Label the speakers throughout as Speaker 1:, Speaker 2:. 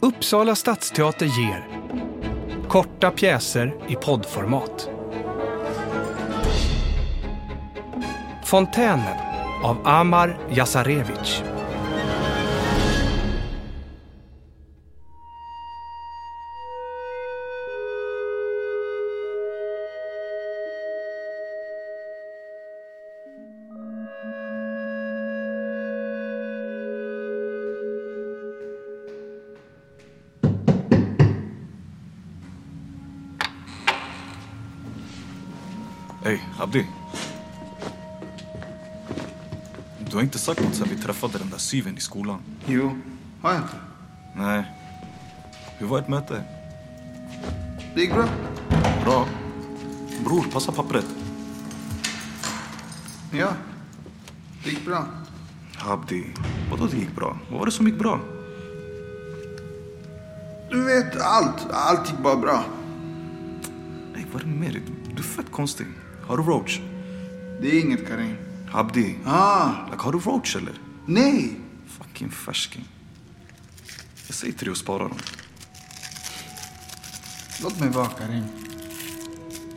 Speaker 1: Uppsala stadsteater ger Korta pjäser i poddformat. Fontänen av Amar Jasarevic.
Speaker 2: Hej, Abdi. Du har inte sagt något sen vi träffade den där syven i skolan.
Speaker 3: Jo, har jag inte?
Speaker 2: Nej. Hur var ert möte?
Speaker 3: Det gick bra.
Speaker 2: Bra. Bror, passa pappret.
Speaker 3: Ja, det gick bra.
Speaker 2: Abdi, vadå det gick bra? Vad var det som gick bra?
Speaker 3: Du vet allt. Allt gick bara bra.
Speaker 2: Nej, vad är det med dig? Du- Du är fett konstig. Har du roach?
Speaker 3: Det är inget Karim.
Speaker 2: Abdi,
Speaker 3: Ah,
Speaker 2: like, har du roach eller?
Speaker 3: nej.
Speaker 2: Fucking färsking. Jag säger till dig att spara dem.
Speaker 3: Låt mig vara Karim.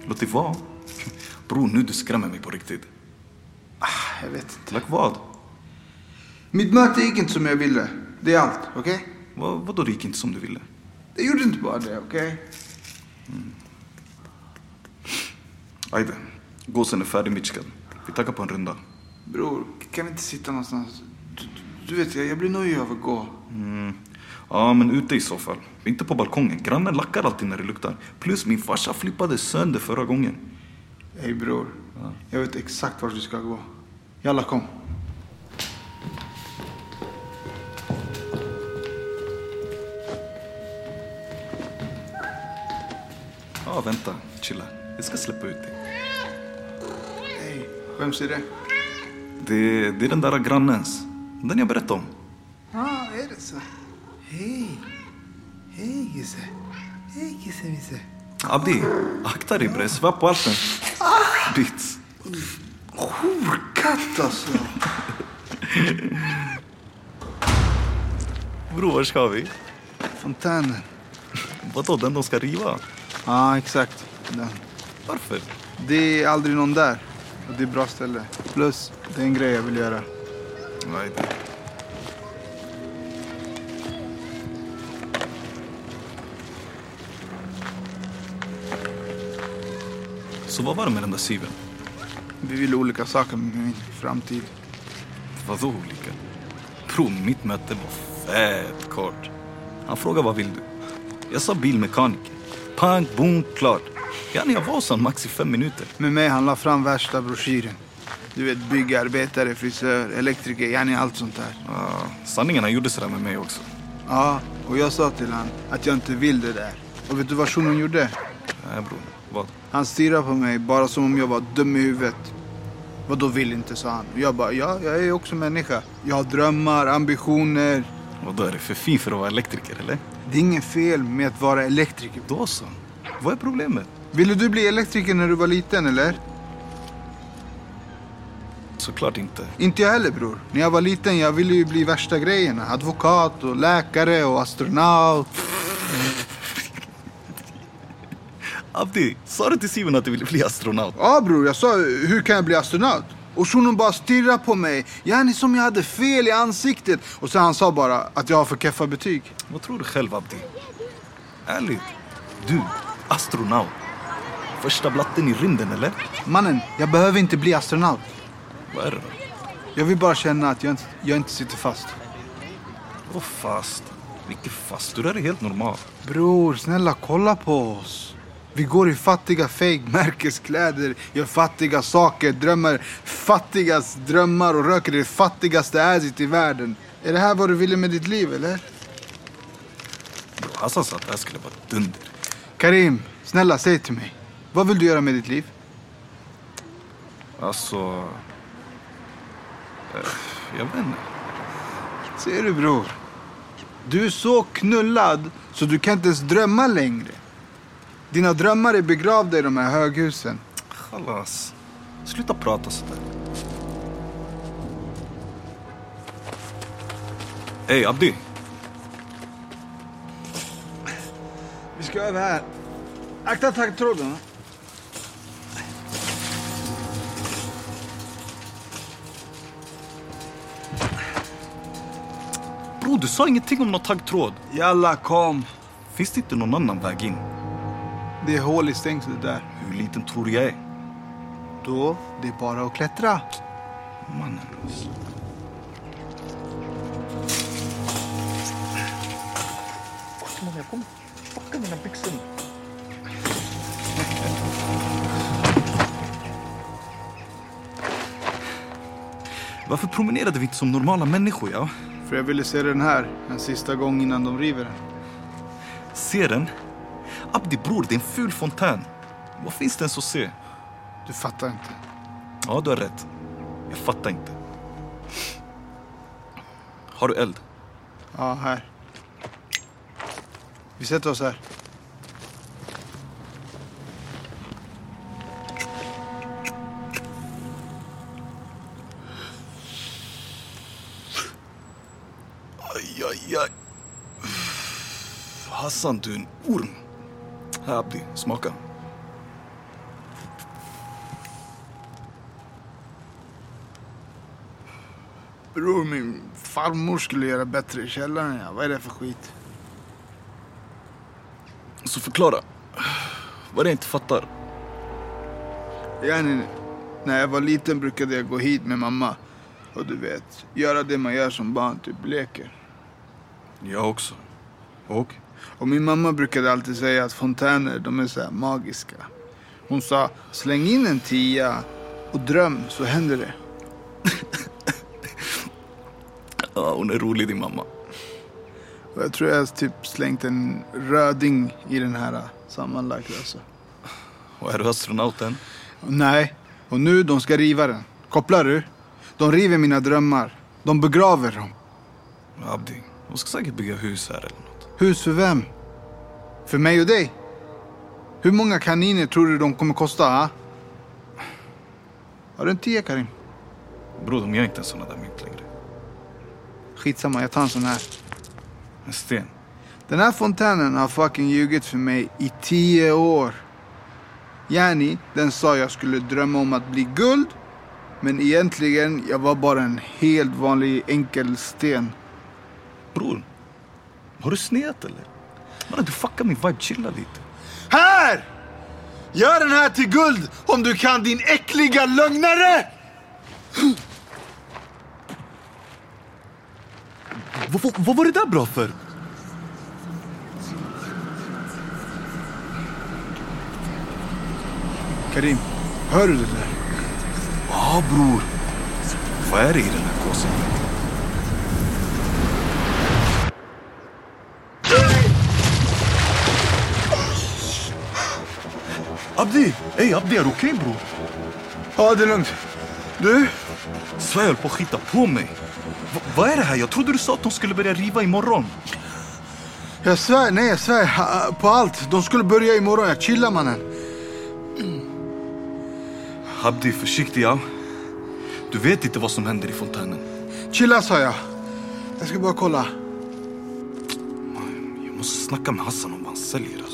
Speaker 2: Låt det vara. Bror, nu du skrämmer mig på riktigt.
Speaker 3: Jag vet inte.
Speaker 2: Like vad?
Speaker 3: Mitt möte gick inte som jag ville. Det är allt, okej?
Speaker 2: Vad, vadå det gick inte som du ville?
Speaker 3: Det gjorde inte bara det, okej?
Speaker 2: Ajde, gåsen är färdigmitchkad. Vi tackar på en runda.
Speaker 3: Bror, kan vi inte sitta någonstans? Du, du vet, jag, jag blir nöjd av att gå.
Speaker 2: Ja, men ute i så fall. Inte på balkongen. Grannen lackar alltid när det luktar. Plus min farsa flippade sönder förra gången.
Speaker 3: Hej bror. Jag vet exakt vart du ska gå. Jalla, kom.
Speaker 2: Ja, vänta. Chilla. Jag ska släppa ut dig.
Speaker 3: Hej, vems är det?
Speaker 2: Det, det är den där grannens. Den jag berättade om.
Speaker 3: Ah, är det så? Hej. Hej Gisse. Hej Gissemisse.
Speaker 2: Abdi, akta dig bre. Jag Svär på allt. Bits.
Speaker 3: Horkatt alltså.
Speaker 2: Bror, var ska vi?
Speaker 3: Fontänen.
Speaker 2: Vadå, den de ska riva?
Speaker 3: Ja, ah, exakt. Den.
Speaker 2: Varför?
Speaker 3: Det är aldrig någon där. Och det är bra ställe. Plus, det är en grej jag vill göra.
Speaker 2: Nej. Så vad var det med den där syven?
Speaker 3: Vi vill olika saker med min framtid.
Speaker 2: Vadå olika? Bro, mitt möte var fett kort. Han frågade vad vill du? Jag sa bilmekaniker. Pang, boom, klart. Ja, när jag var hos han max i fem minuter.
Speaker 3: Med mig han la fram värsta broschyren. Du vet, byggarbetare, frisör, elektriker, yani allt sånt där.
Speaker 2: Ah, sanningen, han gjorde sådär med mig också.
Speaker 3: Ja, och jag sa till han att jag inte vill det där. Och vet du vad shunon gjorde?
Speaker 2: Nej, bror. Vad?
Speaker 3: Han stirrade på mig bara som om jag var dum i huvudet. Vad då vill inte, sa han. Och jag bara, ja, jag är ju också människa. Jag har drömmar, ambitioner.
Speaker 2: Vadå, är det för fin för att vara elektriker, eller?
Speaker 3: Det är inget fel med att vara elektriker.
Speaker 2: Då så. Vad är problemet?
Speaker 3: Ville du bli elektriker när du var liten, eller?
Speaker 2: Såklart inte.
Speaker 3: Inte jag heller, bror. När jag var liten jag ville ju bli värsta grejerna. Advokat och läkare och astronaut.
Speaker 2: Abdi, sa du till Simon att du ville bli astronaut?
Speaker 3: Ja, bror, jag sa hur kan jag bli astronaut? Och shunon bara stirrade på mig. Yani som jag hade fel i ansiktet. Och sen han sa bara att jag har för keffa betyg.
Speaker 2: Vad tror du själv Abdi? Ärligt? Du, astronaut. Första blatten i rymden eller?
Speaker 3: Mannen, jag behöver inte bli astronaut.
Speaker 2: Vad är det?
Speaker 3: Jag vill bara känna att jag inte, jag inte sitter fast.
Speaker 2: Vadå fast? Vilken fast? Du där är helt normal.
Speaker 3: Bror, snälla kolla på oss. Vi går i fattiga fake-märkeskläder, gör fattiga saker, drömmer fattigas drömmar och röker det fattigaste äsit i världen. Är det här vad du ville med ditt liv, eller?
Speaker 2: Bro, Hassan sa att det här skulle vara dunder.
Speaker 3: Karim, snälla säg till mig. Vad vill du göra med ditt liv?
Speaker 2: Alltså... eh, Jag vet inte.
Speaker 3: Ser du, bror? Du är så knullad så du kan inte ens drömma längre. Dina drömmar är begravda i de här höghusen.
Speaker 2: Chalas. Sluta prata sådär. Hej Abdi.
Speaker 3: ska över här. Akta taggtråden.
Speaker 2: Bro, du sa ingenting om någon taggtråd.
Speaker 3: Jalla, kom.
Speaker 2: Finns det inte någon annan väg in?
Speaker 3: Det är hål i stängslet där.
Speaker 2: Hur liten tror du jag är?
Speaker 3: Då, det är bara att klättra.
Speaker 2: Mannen alltså.
Speaker 4: Fuck man, jag kommer fucka mina byxor nu.
Speaker 2: Varför promenerade vi inte som normala människor, ja?
Speaker 3: För jag ville se den här en sista gång innan de river den.
Speaker 2: Ser den? Abdi bror, det är en ful fontän. Vad finns det ens att se?
Speaker 3: Du fattar inte.
Speaker 2: Ja, du har rätt. Jag fattar inte. Har du eld?
Speaker 3: Ja, här. Vi sätter oss här.
Speaker 2: Aj, aj, aj. Hassan, du är en orm. Här, Abdi. Smaka.
Speaker 3: Bror, min farmor skulle göra bättre i källaren. Ja. Vad är det för skit?
Speaker 2: Så förklara. Vad är det jag inte fattar?
Speaker 3: Yani, när jag var liten brukade jag gå hit med mamma. Och du vet, göra det man gör som barn, typ leker.
Speaker 2: Jag också. Och?
Speaker 3: Och min mamma brukade alltid säga att fontäner, de är så här magiska. Hon sa, släng in en tia och dröm så händer det.
Speaker 2: Ja, hon är rolig, din mamma.
Speaker 3: Och jag tror jag har typ slängt en röding i den här äh, sammanlagt alltså.
Speaker 2: Och är du astronauten?
Speaker 3: Nej, och nu de ska riva den. Kopplar du? De river mina drömmar. De begraver dem.
Speaker 2: Abdi, hon ska säkert bygga hus här eller något.
Speaker 3: Hus för vem? För mig och dig? Hur många kaniner tror du de kommer kosta? Ha? Har du en tia Karim?
Speaker 2: Bror, de gör inte en sån där mynt längre.
Speaker 3: Skitsamma, jag tar en sån här.
Speaker 2: En sten.
Speaker 3: Den här fontänen har fucking ljugit för mig i tio år. Yani, den sa jag skulle drömma om att bli guld. Men egentligen, jag var bara en helt vanlig enkel sten.
Speaker 2: Bror, har du sneat eller? Mannen, du fuckar min vibe. Chilla lite.
Speaker 3: Här! Gör den här till guld om du kan din äckliga lögnare!
Speaker 2: vad var det där bra för?
Speaker 3: Karim, hör du det där?
Speaker 2: Ja, bror. Vad är det i den här gåsen? Abdi! Ey, Abdi, är du okej, bror?
Speaker 3: Ja, det är lugnt. Du?
Speaker 2: Svär jag höll på att skita på mig. Va- vad är det här? Jag trodde du sa att de skulle börja riva imorgon.
Speaker 3: Jag svär, nej jag svär ha- på allt. De skulle börja imorgon. Jag chillar mannen.
Speaker 2: Abdi, försiktig, ja. Du vet inte vad som händer i fontänen.
Speaker 3: Chilla sa jag. Jag ska bara kolla.
Speaker 2: Jag måste snacka med Hassan om vad han säljer, alltså.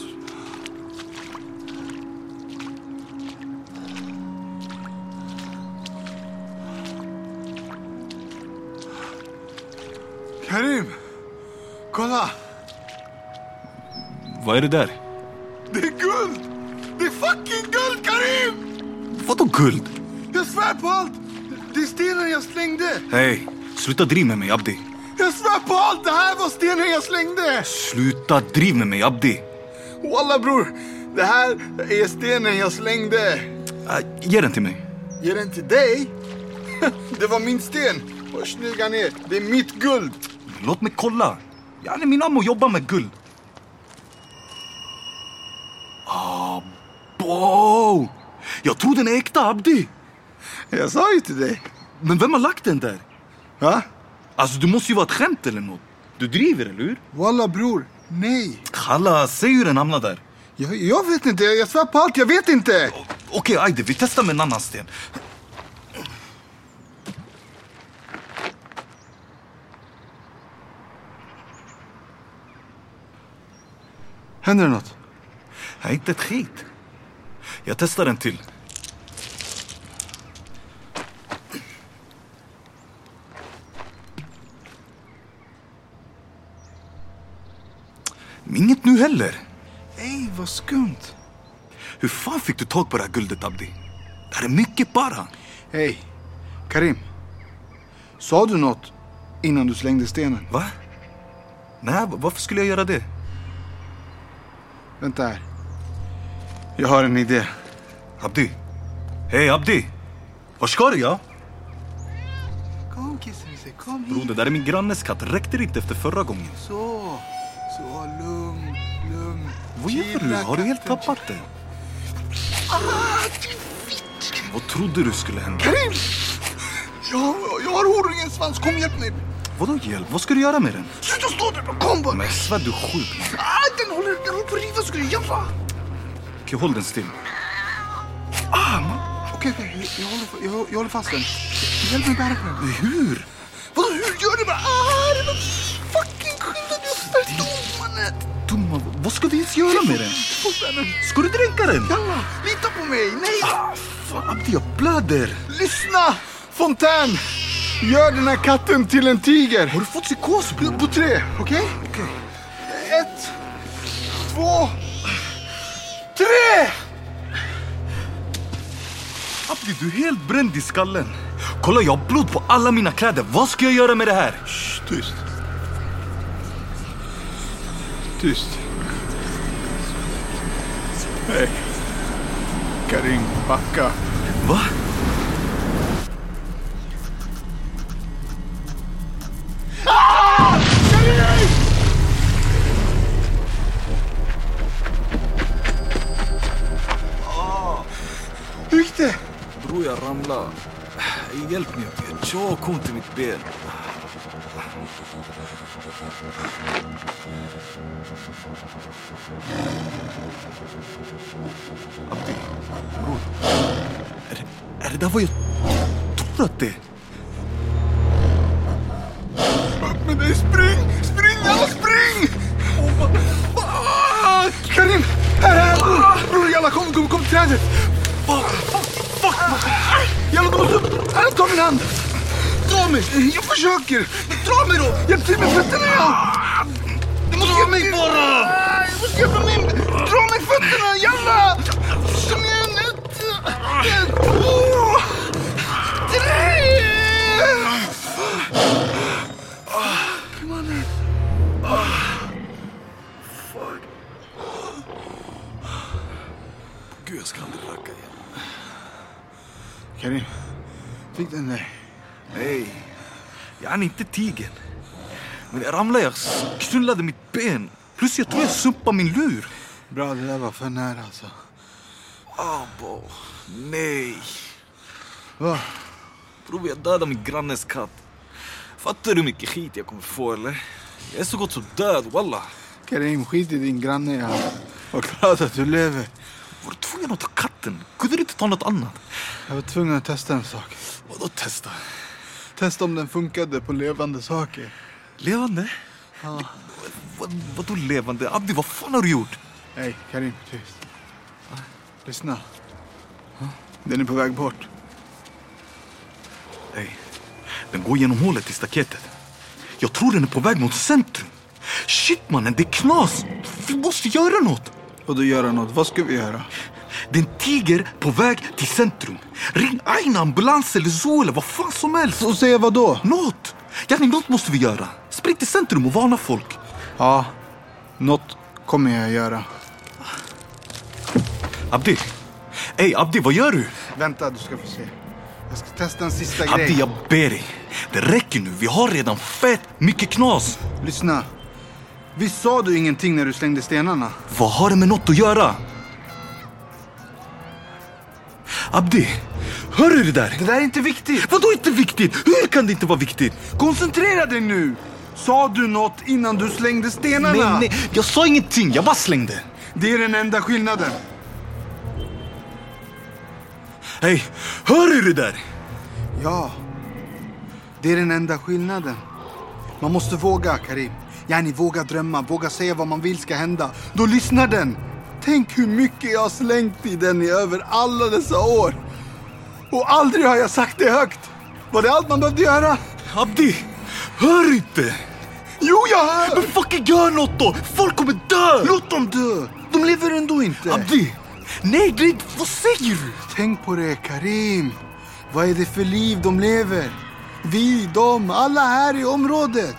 Speaker 3: Karim! Kolla!
Speaker 2: Vad är det där?
Speaker 3: Det är guld! Det är fucking guld Karim!
Speaker 2: Vadå guld?
Speaker 3: Jag svär på allt! Det är stenen jag slängde!
Speaker 2: Hej, sluta driv med mig, Abdi.
Speaker 3: Jag svär på allt! Det här var stenen jag slängde!
Speaker 2: Sluta driv med mig, Abdi.
Speaker 3: Walla bror! Det här är stenen jag slängde!
Speaker 2: Äh, ge den till mig.
Speaker 3: Ger den till dig? Det var min sten! Och snygga ner, det är mitt guld!
Speaker 2: Låt mig kolla. Jag är min ammo jobbar med guld. Ah, bo! Jag tror den är äkta, Abdi.
Speaker 3: Jag sa ju till dig.
Speaker 2: Men vem har lagt den där?
Speaker 3: Va?
Speaker 2: Alltså, du måste ju vara ett skämt eller något. Du driver, eller hur?
Speaker 3: Walla bror, nej.
Speaker 2: Kalla, säg hur den hamnar där.
Speaker 3: Jag, jag vet inte, jag svär på allt, jag vet inte.
Speaker 2: O- Okej, Ajde, vi testar med en annan sten.
Speaker 3: Händer det något?
Speaker 2: Nej, inte ett skit. Jag testar en till. Inget nu heller. Ey, vad skumt. Hur fan fick du tag på det här guldet, Abdi? Det här är mycket para.
Speaker 3: Hej, Karim. Sa du något innan du slängde stenen?
Speaker 2: Va? Nej, varför skulle jag göra det?
Speaker 3: Vänta här. Jag har en idé.
Speaker 2: Abdi? Hej, Abdi! Vad ska du, ja?
Speaker 3: Kom kissnisse, kom
Speaker 2: Bro, det där är min grannes katt. Räckte det inte efter förra gången?
Speaker 3: Så, så lugn, lugn.
Speaker 2: Vad gör du? Har du helt tappat det? Vad trodde du skulle hända?
Speaker 3: Jag, jag har horungens svans, kom hjälp mig.
Speaker 2: Vadå hjälp? Vad ska du göra med den?
Speaker 3: Sluta stå där, kom bara.
Speaker 2: Men jag svär, du är sjuk. man.
Speaker 3: Ah, den håller, den håller på att riva, ska du hjälpa?
Speaker 2: Okej, håll den still. Ah,
Speaker 3: Okej, okej, jag, jag, håller, fa- jag, jag håller fast den. Hjälp mig bära på den.
Speaker 2: Hur?
Speaker 3: Vadå, hur gör du? Bara, ah, det var fucking skynda dig upp där, dom mannen.
Speaker 2: Dumma, vad ska vi ens göra med den?
Speaker 3: Få den.
Speaker 2: Ska du dränka den?
Speaker 3: Jalla, lita på mig, nej.
Speaker 2: Ah, fan, Abdi, jag blöder!
Speaker 3: Lyssna! Fontän! Gör den här katten till en tiger!
Speaker 2: Har du fått psykos, bror?
Speaker 3: På tre, okej?
Speaker 2: Okej.
Speaker 3: Ett, två, tre!
Speaker 2: Abdi, du är helt bränd i skallen. Kolla, jag har blod på alla mina kläder. Vad ska jag göra med det här?
Speaker 3: Tyst. Tyst. Hej. Karim, backa.
Speaker 2: Va?
Speaker 3: Hur gick det?
Speaker 2: Bror, jag ramlade. Hjälp mig, jag tjock ont i mitt ben. Abdi, bror. Är det, är det där vad jag tror att det är?
Speaker 3: Upp med dig, spring! Spring, jalla, spring! Åh, vad fuck! Karim, här, här! Bror, bror jalla, kom, kom, kom till trädet!
Speaker 2: Fuck, fuck, fuck!
Speaker 3: Jalla, du måste upp! Här, Ta min hand! Dra mig! Jag försöker! Dra mig då! Hjälp till med fötterna, ja! Du måste hjälpa mig bara! Du måste hjälpa mig! Dra mig fötterna, jalla! Kom igen! Ett, ett, två, tre!
Speaker 2: Gud, jag ska aldrig racka igen.
Speaker 3: Karim, fick den där?
Speaker 2: Nej, jag är inte tigern. Men jag ramlade, jag knullade mitt ben. Plus jag tror jag sumpade min lur.
Speaker 3: Bra, det där var för nära alltså.
Speaker 2: Abo, nej.
Speaker 3: Va?
Speaker 2: Bror, jag dödade min grannes katt. Fattar du hur mycket skit jag kommer få eller? Jag är så gott som död, walla.
Speaker 3: Karim, skit i din granne ja. Var glad att du lever.
Speaker 2: Var du tvungen att ta katten? Kunde du inte ta något annat?
Speaker 3: Jag var tvungen att testa en sak.
Speaker 2: Vadå testa?
Speaker 3: Testa om den funkade på levande saker.
Speaker 2: Levande?
Speaker 3: Ja.
Speaker 2: Vad, vadå levande? Abdi, vad fan har du gjort?
Speaker 3: Hej, Karim, tyst. Lyssna. Den är på väg bort.
Speaker 2: Nej, den går genom hålet i staketet. Jag tror den är på väg mot centrum. Shit mannen, det är knas! Vi måste göra något!
Speaker 3: Och då göra något. Vad ska vi göra?
Speaker 2: Det är en tiger på väg till centrum. Ring Aina, ambulans eller zoo eller vad fan som helst.
Speaker 3: Och säga vad då?
Speaker 2: Något! Janni, något måste vi göra. Spring till centrum och varna folk.
Speaker 3: Ja, något kommer jag göra.
Speaker 2: Abdi! Ey Abdi, vad gör du?
Speaker 3: Vänta, du ska få se. Jag ska testa en sista
Speaker 2: Abdi,
Speaker 3: grej.
Speaker 2: jag ber dig. Det räcker nu. Vi har redan fett mycket knas.
Speaker 3: Lyssna. Visst sa du ingenting när du slängde stenarna?
Speaker 2: Vad har det med något att göra? Abdi, hör du det där?
Speaker 3: Det där är inte viktigt.
Speaker 2: Vadå inte viktigt? Hur kan det inte vara viktigt?
Speaker 3: Koncentrera dig nu! Sa du något innan du slängde stenarna?
Speaker 2: Nej, nej, jag sa ingenting. Jag bara slängde.
Speaker 3: Det är den enda skillnaden.
Speaker 2: Hej, hör du det där?
Speaker 3: Ja, det är den enda skillnaden. Man måste våga, Karim. Yani, våga drömma, våga säga vad man vill ska hända. Då lyssnar den. Tänk hur mycket jag har slängt i den i över alla dessa år. Och aldrig har jag sagt det högt. Var det allt man behövde göra?
Speaker 2: Abdi, hör inte!
Speaker 3: Jo, jag hör!
Speaker 2: fucking gör något då! Folk kommer dö!
Speaker 3: Låt dem dö! De lever ändå inte.
Speaker 2: Abdi! Nej, det är inte... Vad säger du?
Speaker 3: Tänk på det, Karim. Vad är det för liv de lever? Vi, de, alla här i området.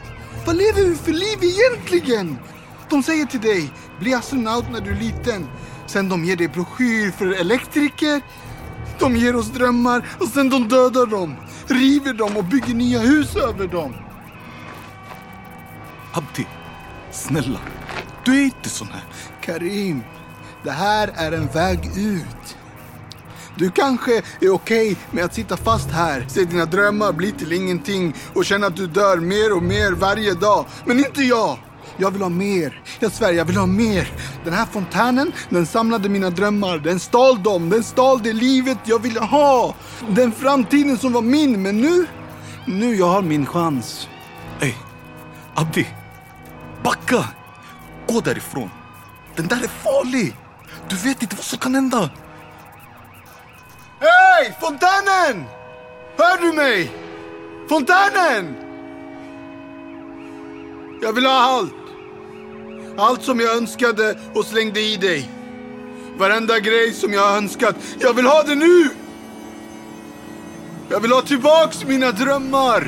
Speaker 3: Vad lever vi för liv egentligen? De säger till dig, bli astronaut när du är liten. Sen de ger dig broschyr för elektriker. De ger oss drömmar och sen de dödar dem, river dem och bygger nya hus över dem.
Speaker 2: Abdi, snälla. Du är inte sån här.
Speaker 3: Karim, det här är en väg ut. Du kanske är okej med att sitta fast här, se dina drömmar bli till ingenting och känna att du dör mer och mer varje dag. Men inte jag! Jag vill ha mer. Jag svär, jag vill ha mer. Den här fontänen, den samlade mina drömmar. Den stal dem. Den stal det livet jag ville ha. Den framtiden som var min. Men nu, nu jag har min chans.
Speaker 2: Ey, Abdi. Backa! Gå därifrån. Den där är farlig. Du vet inte vad som kan hända.
Speaker 3: Hej! Fontänen! Hör du mig? Fontänen! Jag vill ha allt. Allt som jag önskade och slängde i dig. Varenda grej som jag har önskat. Jag vill ha det nu! Jag vill ha tillbaks mina drömmar!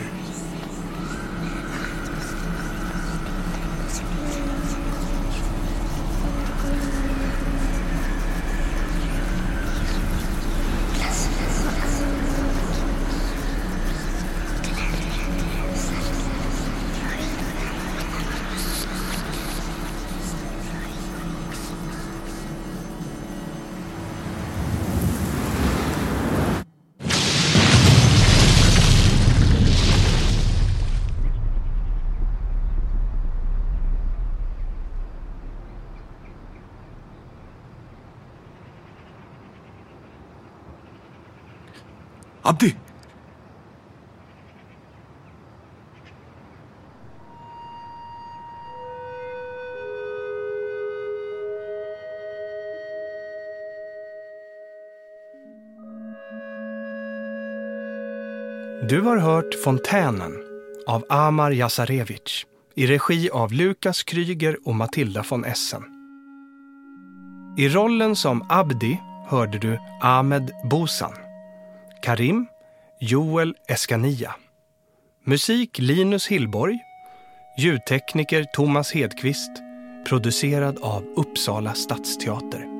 Speaker 2: Abdi!
Speaker 1: Du har hört Fontänen av Amar Jasarevic i regi av Lukas Kryger och Matilda von Essen. I rollen som Abdi hörde du Ahmed Bosan, Karim Joel Eskania. Musik Linus Hillborg, ljudtekniker Thomas Hedqvist, producerad av Uppsala stadsteater.